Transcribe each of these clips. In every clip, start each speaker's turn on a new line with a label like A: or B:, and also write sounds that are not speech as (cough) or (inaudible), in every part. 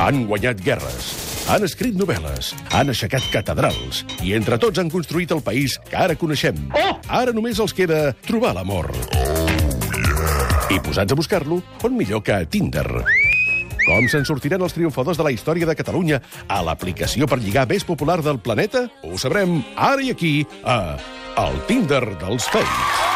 A: Han guanyat guerres, han escrit novel·les, han aixecat catedrals i entre tots han construït el país que ara coneixem. Ara només els queda trobar l'amor. I posats a buscar-lo, on millor que a Tinder. Com se'n sortiran els triomfadors de la història de Catalunya a l'aplicació per lligar més popular del planeta? Ho sabrem ara i aquí, a El Tinder dels Fakes.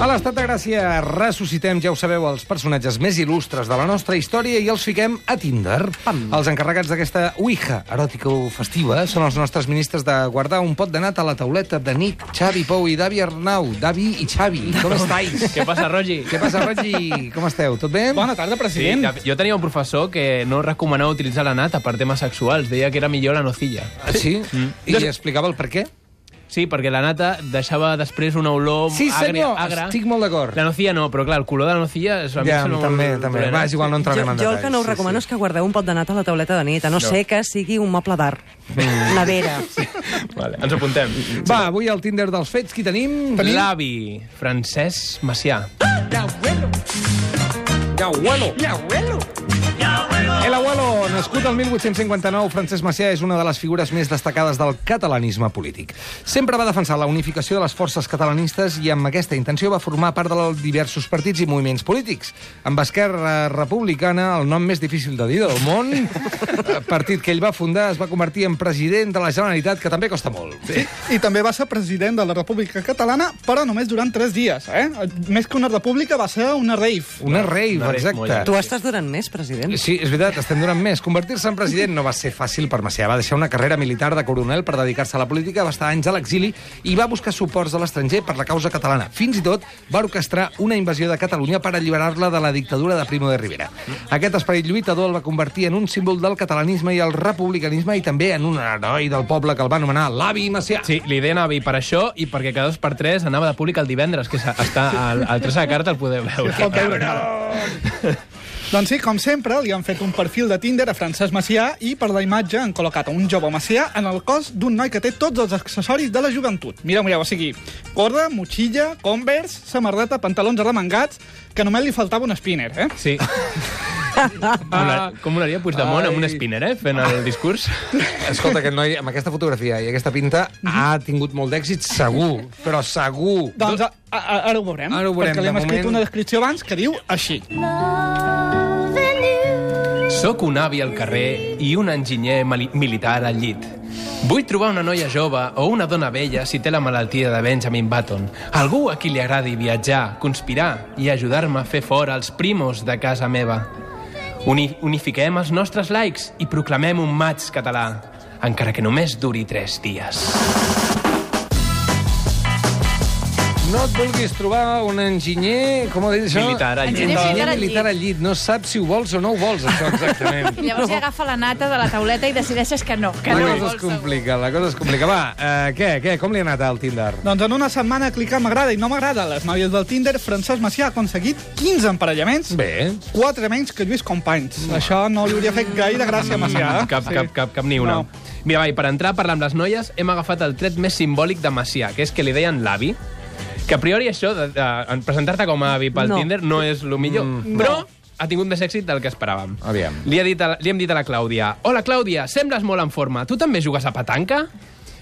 B: A l'estat de Gràcia ressuscitem, ja ho sabeu, els personatges més il·lustres de la nostra història i els fiquem a Tinder. Pam. Els encarregats d'aquesta uija eròtica o festiva són els nostres ministres de guardar un pot de nata a la tauleta de Nic, Xavi, Pou i Davi Arnau. Davi i Xavi, com estàs?
C: Què passa, Rogi?
B: Què passa, Rogi? Com esteu? Tot bé?
D: Bona tarda,
C: Sí,
D: president.
C: jo tenia un professor que no recomanava utilitzar la nata per temes sexuals. Deia que era millor la nocilla.
B: Sí? I
C: Des-
B: explicava el per què?
C: Sí, perquè la nata deixava després una olor
B: Sí, senyor,
C: agra.
B: estic molt d'acord.
C: La nocilla no, però clar, el color de la nocilla... És, a mi
B: Ja,
C: em sembla
B: també,
C: molt
B: també.
C: dolent.
B: Va, és igual, no
E: Jo,
B: entrarem en
E: jo el que no us
B: detalls.
E: recomano és que guardeu un pot de nata a la tauleta de nit, a no, no. ser que sigui un moble d'art. Nevera.
C: Vale, ens apuntem.
B: Va, avui al Tinder dels fets, qui tenim?
C: L'avi, Francesc Macià.
B: El abuelo. El abuelo, nascut el 1859, Francesc Macià és una de les figures més destacades del catalanisme polític. Sempre va defensar la unificació de les forces catalanistes i amb aquesta intenció va formar part de diversos partits i moviments polítics. Amb Esquerra Republicana, el nom més difícil de dir del món, eh, partit que ell va fundar, es va convertir en president de la Generalitat, que també costa molt.
D: Sí.
F: I també va ser president de la República Catalana, però només durant tres dies. Eh? Més que una república, va ser una rave.
B: Una rave,
C: Una rave molt
B: exacte.
C: llarga.
E: tu estàs durant més, president?
B: Sí, és veritat, estem donant més. Convertir-se en president no va ser fàcil per Macià. Va deixar una carrera militar de coronel per dedicar-se a la política, va estar anys a l'exili i va buscar suports a l'estranger per la causa catalana. Fins i tot va orquestrar una invasió de Catalunya per alliberar-la de la dictadura de Primo de Rivera. Aquest esperit lluitador el va convertir en un símbol del catalanisme i el republicanisme i també en un heroi del poble que el va anomenar l'avi Macià.
C: Sí, li deien avi per això i perquè cada dos per tres anava de públic el divendres, que s'ha- està al, al 3 de carta el podeu veure.
F: Pot veure encara. Ah, (laughs) Doncs sí, com sempre, li han fet un perfil de Tinder a Francesc Macià i per la imatge han col·locat a un jove Macià en el cos d'un noi que té tots els accessoris de la joventut. Mireu, mireu, o sigui, corda, motxilla, converse, samarreta, pantalons arremangats, que només li faltava un spinner, eh?
B: (laughs)
C: Sí. Ah. Com molaria Puigdemont amb un spinner, eh, fent el discurs?
B: Escolta, aquest noi, amb aquesta fotografia i aquesta pinta, ha tingut molt d'èxit, segur, però segur.
F: Doncs a, a, a- ara ho veurem,
B: Ara ho veurem,
F: perquè li
B: de
F: hem escrit
B: moment-
F: una descripció abans que diu així.
C: Soc un avi al carrer i un enginyer mali- militar al llit. Vull trobar una noia jove o una dona vella si té la malaltia de Benjamin Button. Algú a qui li agradi viatjar, conspirar i ajudar-me a fer fora els primos de casa meva. Uni unifiquem els nostres likes i proclamem un maig català, encara que només duri tres dies.
B: No et vulguis trobar un enginyer, com ho dius això?
C: Militar al llit.
G: Enginyer militar al llit.
B: militar al llit. No saps si ho vols o no ho vols, això, exactament.
H: (laughs)
G: I llavors ja agafa la nata de la tauleta i decideixes que no, (laughs) que
B: la
G: no ho
B: cosa
G: vols.
B: es complica, la cosa es complica. Va, eh, què, què, com li ha anat al Tinder?
F: Doncs en una setmana clicar m'agrada i no m'agrada a les noies del Tinder, Francesc Macià ha aconseguit 15 emparellaments,
B: Bé.
F: 4 menys que Lluís Companys. Això no li hauria fet gaire gràcia a Macià. eh?
C: Mm. (laughs) Cap, cap, cap, cap ni una.
F: No.
C: Mira, va, i per entrar a parlar amb les noies hem agafat el tret més simbòlic de Macià, que és que li deien l'avi, que a priori això, de, de, en presentar-te com a avi pel
E: No.
C: Tinder no és el millor, mm. però ha tingut més èxit del que esperàvem.
B: Aviam.
C: Li, ha dit a, la- li hem dit a la Clàudia, Hola, Clàudia, sembles molt en forma. Tu també jugues a petanca?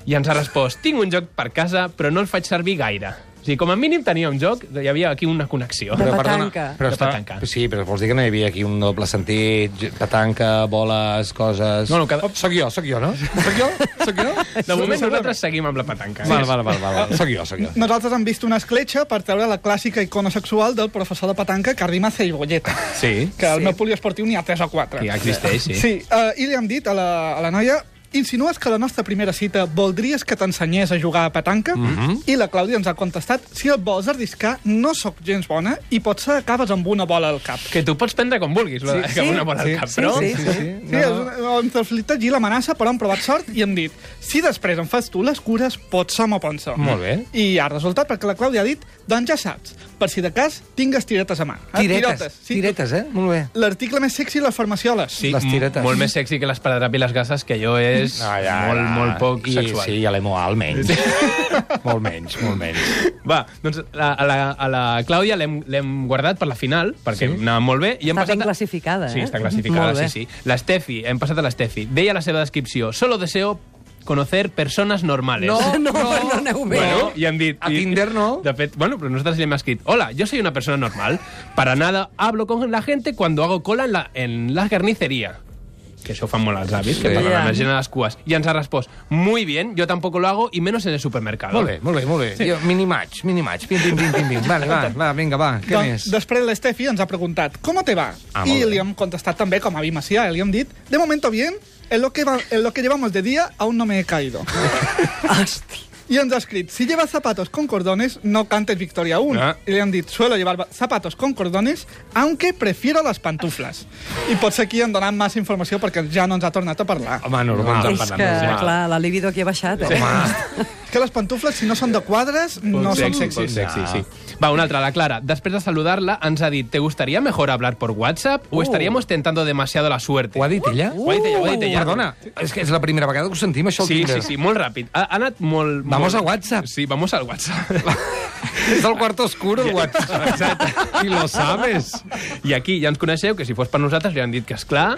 C: I ens ha respost, tinc un joc per casa, però no el faig servir gaire. O sigui, com a mínim tenia un joc, hi havia aquí una connexió.
E: De
B: perdona,
E: petanca.
B: Però
C: De
B: està,
C: petanca.
B: Sí, però vols dir que no hi havia aquí un doble sentit, j- petanca, boles, coses...
C: No, no, cada-
B: Soc jo, soc jo, no? Soc jo? Soc jo?
C: De moment nosaltres seguim amb la petanca.
B: Val, val, val, val, val. Soc jo, soc jo.
F: Nosaltres hem vist una escletxa per treure la clàssica icona sexual del professor de petanca Cardimas Cebolleta,
C: Sí.
F: que al meu poliesportiu n'hi ha 3 o 4.
C: Sí, existeix, sí.
F: Sí, eh, i li hem dit a la, a la noia Insinues que a la nostra primera cita voldries que t'ensenyés a jugar a petanca? Mm
C: Mm-hmm.
F: -hmm. I la Clàudia ens ha contestat si et vols arriscar, no sóc gens bona i potser acabes amb una bola al cap.
C: Que tu pots prendre com vulguis, sí, que
E: sí,
C: una bola al cap, però...
E: sí,
B: sí, sí.
F: Sí, és una, entre el flirteig i l'amenaça, però han provat sort i hem dit si després em fas tu les cures, potser m'ho penso.
B: Mm.
C: Molt bé.
F: I ha resultat perquè la Clàudia ha dit doncs ja saps, per si de cas tingues tiretes a mà. Eh?
B: Tiretes,
F: sí,
B: tiretes, eh? Molt bé.
F: L'article més sexy, les farmacioles.
C: Sí,
B: Les tiretes.
C: m- Molt més sexy que l'esparadrap i les gasses, que jo és
B: Ah,
C: no, Ah, ja, molt, ja. molt poc
D: I,
C: sexual.
D: Sí, i a l'emo
C: (laughs)
D: almenys. molt menys, molt menys.
C: Va, doncs la, a, la, a la Clàudia l'hem l'hem guardat per la final, perquè sí. anava molt bé. I hem
E: Està ben
C: passat a-
E: classificada,
C: Sí,
E: eh?
C: està classificada,
E: Molt bé.
C: sí, sí. L'Estefi, hem passat a l'Estefi. Deia la seva descripció, solo deseo conocer personas normales.
E: No, no, no aneu bé.
C: Bueno, i hem dit...
B: A
C: i-
B: Tinder no.
C: De fet, bueno, pero nosotros le hemos escrito, hola, yo soy una persona normal, para nada hablo con la gente cuando hago cola en la, en la carnicería. Que eso fan molt els avis, que
B: Sí.
C: paguen
E: Ja.
C: la gent a les cues. I ens ha respost, muy bien, yo tampoco lo hago, y menos en el supermercado.
B: Molt bé, molt bé, molt bé. Sí. Jo, minimatch, minimatch. Pim, pim, pim, pim, pim. Vale, va, va, vinga, va. Què
F: Doncs,
B: més?
F: Després l'Estefi ens ha preguntat ¿Cómo te va?
B: Ah, molt
F: I
B: bé.
F: li hem contestat també com a Avi Macià. Li hem dit De momento bien, en lo que, va, en lo que llevamos de día aún no me
B: (laughs)
F: he caído.
E: Hosti.
F: I ens ha escrit Si llevas zapatos con cordones, no cantes Victoria 1.
C: Ah.
F: I li hem dit Suelo llevar ba- zapatos con cordones, aunque prefiero las pantuflas. I potser aquí hem donat massa informació perquè ja no ens ha tornat a parlar.
D: Home,
B: Ah.
D: normal.
E: És que, clar, la libido aquí ha baixat, eh?
F: És que les pantufles, si no són de quadres, no són sexis.
C: sexy, sí. Va, una altra, la Clara. Després de saludar-la, ens ha dit, ¿te gustaría mejor hablar por WhatsApp o estaríamos tentando demasiado la suerte?
B: Uh. Ho ha dit ella? Uh.
C: Ho ha dit ella, ho ha dit ella.
B: Perdona, és que és la primera vegada que ho sentim, això, al
C: Sí, sí,
B: Tinder.
C: sí, molt ràpid. Ha, ha anat molt...
B: Vamos
C: molt...
B: a WhatsApp.
C: Sí, vamos al WhatsApp. (laughs) doncs-
B: És el quarto oscuro, el WhatsApp.
C: Exacte.
B: I lo sabes.
C: I aquí ja ens coneixeu, que si fos per nosaltres li han dit que és clar,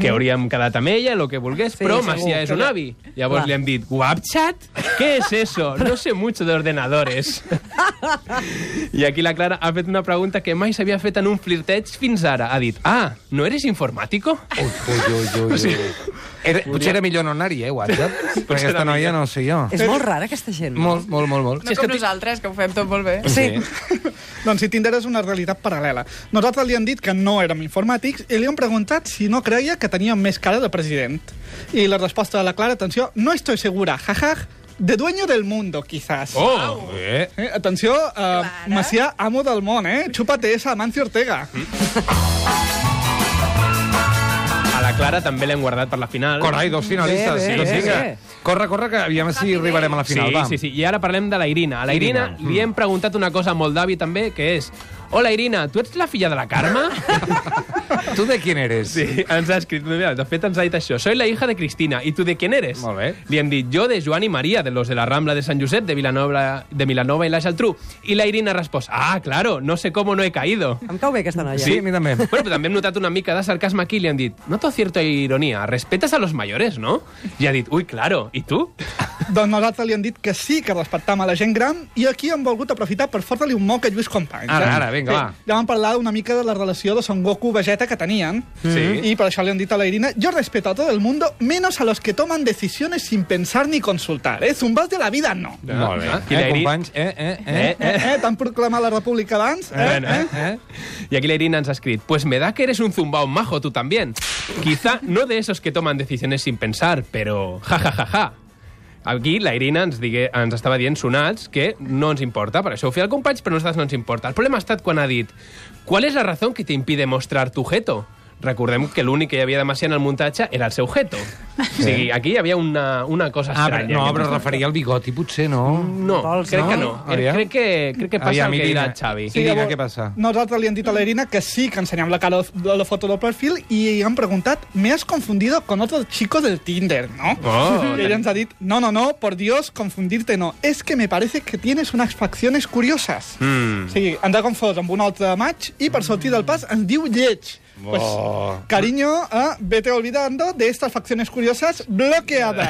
C: que hauríem quedat amb ella, el que volgués,
E: Sí,
C: sí, però
E: segur,
C: Macià és
E: que
C: un
E: ja-
C: avi. Llavors
E: Clar.
C: li hem dit, ¿WhatsApp? ¿Qué es eso? No sé mucho de
E: (laughs)
C: ordenadores. I aquí la Clara ha fet una pregunta que mai s'havia fet en un flirteig fins ara. Ha dit, ah, ¿no eres informático?
B: Era, potser era millor no anar-hi, eh, WhatsApp. Però
C: Potser
B: aquesta
C: era
B: noia no ho sé jo.
E: És molt rara, aquesta gent. no?
B: Molt, molt, molt, molt.
H: No com nosaltres, que ho fem tot molt bé.
E: Sí.
F: Doncs si Tinder és una realitat paral·lela. Nosaltres li hem dit que no érem informàtics i li hem preguntat si no creia que teníem més cara de president. I la resposta de la Clara, atenció, no estoy segura, jaja, de dueño del mundo, quizás.
C: Oh,
B: Eh?
F: Eh, atenció, eh, Macià, amo del món, eh? Chúpate esa, Amancio Ortega.
C: a la Clara també l'hem guardat per la final.
B: Corre, hi, dos finalistes.
E: Bé, bé,
B: doncs
E: bé,
B: vinga.
E: bé.
B: Corre, corre, que aviam si arribarem a la final.
C: sí,
B: va.
C: Sí, sí, I ara parlem de la Irina. A la Irina, Irina li hem preguntat una cosa molt d'avi també, que és... Hola, Irina, tu ets la filla de la Carme?
B: Tu de quin eres?
C: (laughs) Sí, ens ha escrit, mira, de fet ens ha dit això. Soy la hija de Cristina, i tu de quién eres?
B: Molt bé.
C: Li hem dit, jo de Joan i Maria, de los de la Rambla de Sant Josep, de Vilanova, de Vilanova i la Geltrú. I la Irina ha respost, ah, claro, no sé cómo no he caído. (laughs)
E: Em cau bé aquesta noia.
B: Sí, a mi també.
C: Bueno, però també hem notat una mica de sarcasme aquí i li han dit, noto cierta ironia, respetas a los mayores, no? I ha dit, ui, claro, i tu?
F: Doncs nosaltres li hem dit que sí, que respectam a la gent gran, i aquí hem volgut aprofitar per fotre-li un moc a Lluís Companys.
B: Ara,
F: eh?
B: ara, vinga, va.
F: Ja vam parlar una mica de la relació de Son Goku Vegeta que tenien,
C: Sí.
F: i per això li hem dit a la Irina, yo respeto a todo el mundo, menos a los que toman decisiones sin pensar ni consultar, eh? Zumbas de la vida, no.
B: Molt bé.
C: Ah, i
B: Eh,
C: la Iri-
B: companys? Eh, eh, eh?
C: Eh, eh.
F: Eh, T'han proclamat la república abans, eh?
C: Bueno, eh, eh. Y aquí la Irina ens ha escrit, pues me da que eres un zumbao majo tú también. Quizá no de esos que toman decisiones sin pensar, pero ja, ja, ja, ja. Aquí la Irina ens, digue, ens estava dient sonats que no ens importa, per això ho feia el companys, però a nosaltres no ens importa. El problema ha estat quan ha dit «Qual és la raó que t'impide mostrar tu geto?» Recordem que l'únic que hi havia de Macià en el muntatge era el seu geto. O sigui, aquí hi havia una, una cosa
B: Ah,
C: estranya.
B: però, no,
C: que
B: però
C: ens-
B: es referia al bigoti, potser, no?
C: No,
E: Vols,
C: crec
E: no?
C: que no.
B: Aviam.
C: Crec que, crec que passa
B: Aviam,
C: el que dirà
B: Irina.
C: el Xavi.
B: Irina,
F: llavors,
B: què passa?
F: Nosaltres li hem dit a la Irina que sí que ensenyem la cara de la foto del perfil i han preguntat, me has confundido con otro chico del Tinder, ¿no? (laughs)
C: Oh,
F: y ella ens ha dit, no, no, no, por Dios, confundirte no. Es que me parece que tienes unas facciones curiosas.
C: Mm.
B: Hmm.
F: O sigui, ens ha confós amb un altre maig i per sortir del pas ens diu lleig. Pues, cariño, eh, vete olvidando de estas facciones curiosas bloqueadas.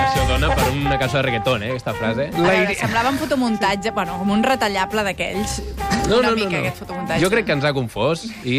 C: Això dona per una cançó de reggaeton, eh, aquesta frase.
H: A veure, semblava un fotomuntatge, bueno, com un retallable d'aquells. Una mica, aquest fotomuntatge.
C: Jo crec que ens ha confós i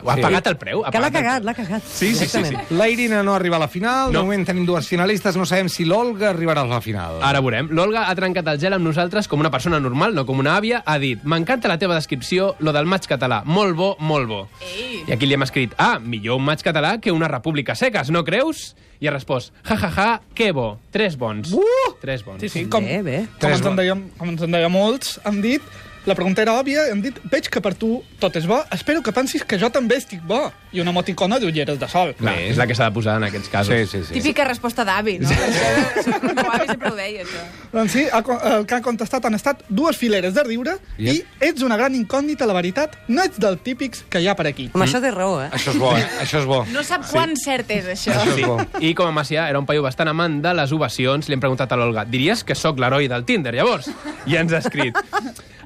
C: ho ha
B: Sí.
C: pagat el preu. ha
E: Que l'ha
C: pagat el
E: cagat, l'ha cagat.
C: Sí, sí, sí, sí.
E: Exactament.
B: La Irina no arriba a la final, no. de
C: No.
B: moment tenim dues finalistes, no sabem si l'Olga arribarà a la final.
C: Ara veurem. L'Olga ha trencat el gel amb nosaltres com una persona normal, no com una àvia. Ha dit, m'encanta la teva descripció, lo del maig català. Molt bo, molt molt bo. Ei. I aquí li hem escrit, ah, millor un maig català que una república seques, no creus? I ha respost, ja, ja, ja, que bo, tres bons. Uh! Tres bons.
F: Sí, sí, com,
E: Bé, bé.
F: com, ens en deia, com ens en deia molts, han dit... La pregunta era òbvia, han dit, veig que per tu tot és bo, espero que pensis que jo també estic bo. I una emoticona d'ulleres de sol.
C: Clar, és la que s'ha de posar en aquests casos.
B: Sí, sí, sí.
H: Típica resposta d'avi, no? Això, això, el meu avi sempre ho deia, això.
F: Doncs sí, el co- el que han contestat han estat dues fileres de riure
B: Yep.
F: i ets una gran incògnita, la veritat, no ets dels típics que hi ha per aquí.
E: Amb això té raó, eh?
B: Això és bo, eh? Això és bo.
H: No sap quan cert és, això.
B: Això
C: Sí.
B: és bo.
C: I com a Macià era un paio bastant amant de les ovacions, li hem preguntat a l'Olga, diries que sóc l'heroi del Tinder, llavors? I ens ha escrit,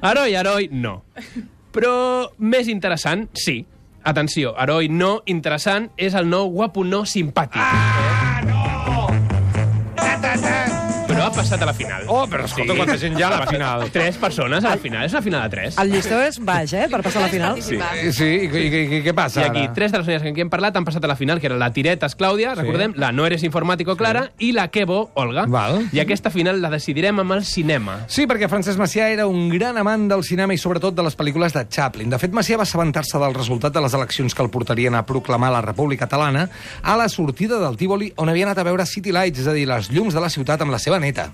C: heroi, heroi, no. Però més interessant, sí. Atenció, heroi no interessant és el nou guapo no simpàtic. Ah, no! Però ha passat a la final.
B: Oh, però escolta, quanta gent hi ha a la final.
C: Tres persones a la final, és la final de tres.
E: El llistó és baix, eh? Per passar a la final.
H: Sí.
B: Eh, Sí, i, i, i, i què
C: I
B: passa
C: aquí,
B: ara?
C: tres de les noies que aquí hem parlat han passat a la final, que eren la Tiretes, Clàudia, sí. recordem, la No eres informático, Clara, sí. i la Quebo, Olga.
B: Val.
C: I aquesta final la decidirem amb el cinema.
B: Sí, perquè Francesc Macià era un gran amant del cinema i sobretot de les pel·lícules de Chaplin. De fet, Macià va assabentar-se del resultat de les eleccions que el portarien a proclamar la República Catalana a la sortida del Tívoli, on havia anat a veure City Lights, és a dir, les llums de la ciutat amb la seva neta.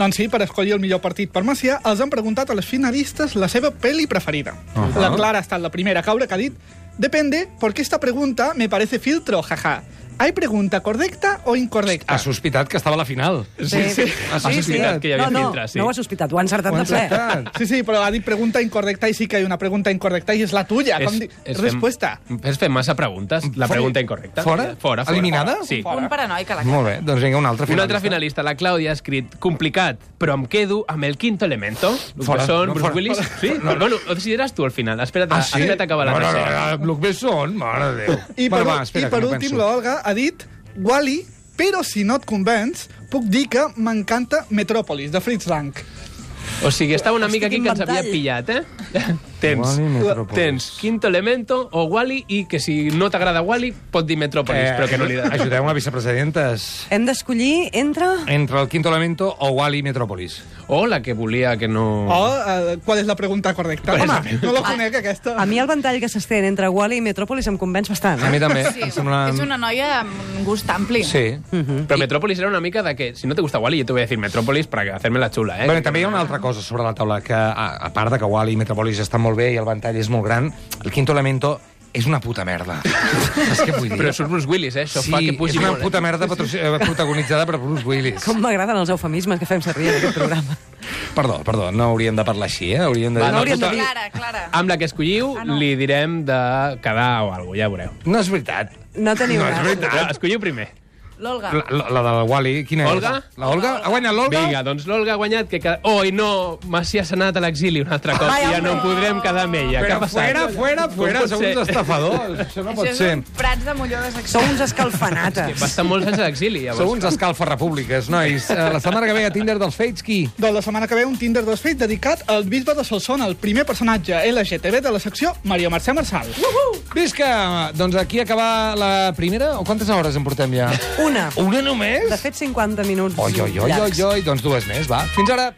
F: Doncs sí, per escollir el millor partit per Macià, els han preguntat a les finalistes la seva pel·li preferida. La Clara ha estat la primera a caure que ha dit «Depende, porque esta pregunta me parece filtro, jaja. ¿Hay pregunta correcta o incorrecta?»
C: Ah.
B: Ha sospitat que estava a la final.
C: Doncs
E: Sí, sí.
B: Ha sospitat
C: que hi havia
E: no, no,
C: filtres, sí.
E: No ho has sospitat, ho ha encertat
B: Ho ha
E: de ple.
B: encertat.
F: Sí, sí, però ha dit pregunta incorrecta i sí que hi ha una pregunta incorrecta i és la tuya. Com di... Resposta.
C: Fem, és fem massa preguntes. La
B: Fora.
C: pregunta incorrecta.
B: Fora?
C: Fora, fora.
B: Eliminada?
C: Sí.
H: Un paranoic a la cara.
B: Molt bé, doncs vinga, un altre
C: Una
B: finalista.
C: altra finalista, la Clàudia, ha escrit complicat, però em quedo amb el quinto elemento.
B: Fora,
C: Fora, són
B: no,
C: Bruce
B: fora. Ah,
C: Willis. Sí? No, bueno, ho decidiràs tu al final. Espera't, a- espera't a acabar la
B: no, no,
C: tercera.
B: no, no, eh, el que són, mare de Déu.
F: I per,
B: Bueno,
F: va,
B: va, espera,
F: i
B: que
F: per
B: no
F: últim,
B: penso.
F: l'Olga ha dit «Wall-E, però si no et convenç, puc dir que m'encanta Metròpolis, de Fritz Lang.
C: O sigui, estava una mica
E: Estic
C: aquí que ens havia
E: inventall.
C: pillat, eh? (laughs) Tens,
B: Wall-E, Metropolis.
C: tens Quinto Elemento o Wall-E i que si no t'agrada Wall-E pot dir Metropolis, eh, però que no li agrada.
B: Ajudeu-me, vicepresidentes.
E: Hem d'escollir entre...
B: Entre el Quinto Elemento o Wall-E Metropolis.
C: O la que volia que no...
B: Oh.
F: O, eh, qual és la pregunta correcta?
C: Qual és la
F: Home, no la conec, aquesta.
E: A mi el ventall que s'estén entre Wall-E i Metròpolis em convenç bastant.
B: A mi
E: Eh?
B: també.
H: Sí,
B: em sembla...
H: És una noia amb un gust ampli.
B: Sí.
C: Però Metropolis era una mica de que, si no te gusta Wall-E, yo te voy a decir Metropolis para hacerme la chula, eh?
B: Bueno, també hi ha una altra cosa sobre la taula, que a, a part de que Wall-E i Metropolis estan molt bé i el ventall és molt gran, el Quinto Elemento és una puta merda. Saps què vull dir?
C: Però surt Bruce Willis, eh? Això
B: sí,
C: fa que
B: és
C: pugi
B: una
C: molt. eh?
B: puta merda patroci- eh, protagonitzada per Bruce Willis.
E: Com m'agraden els eufemismes que fem servir en aquest programa.
B: Perdó, perdó, no hauríem de parlar així, eh? Hauríem de
C: Va,
B: dir...
C: no,
E: hauríem de dir...
H: Clara, Clara.
C: Amb la que escolliu,
H: Ah,
C: ah,
H: no.
C: no. li direm de quedar o alguna cosa, ja ho veureu.
B: No és veritat.
E: No teniu
B: No, és
E: res.
B: veritat.
C: Però escolliu primer.
H: L'Olga.
B: La, la, la de Wall-E, quina
C: Olga?
B: és? La Olga? Ha guanyat l'Olga?
C: Vinga, doncs l'Olga ha guanyat que... Queda... Oi, no, Macià s'ha anat a l'exili un altre cop
E: Ai,
C: i ja
E: home.
C: no podrem quedar amb ella. Què ha
B: Però
C: passat?
B: fuera, fuera,
C: Com
B: fuera,
C: pot
B: sou
C: ser?
B: uns estafadors. Això no pot
H: Això és
B: ser.
H: un Prats de Molló de secció.
E: Sou uns
C: Va
E: escalfanates.
C: estar molts anys a l'exili, llavors.
B: Sou uns escalfarrepúbliques, nois. Eh, La setmana que ve a Tinder dels Fates, qui?
F: Doncs la setmana que ve un Tinder dos fets dedicat al bisbe de Solsona, el primer personatge LGTB de la secció Maria Mercè Marçal.
B: Visca! Doncs aquí acaba la primera, o quantes hores en portem ja?
E: Una.
B: Una només?
E: De fet, 50 minuts
B: Oi, oi, oi,
E: llargs.
B: oi, oi, doncs dues més, va. Fins ara!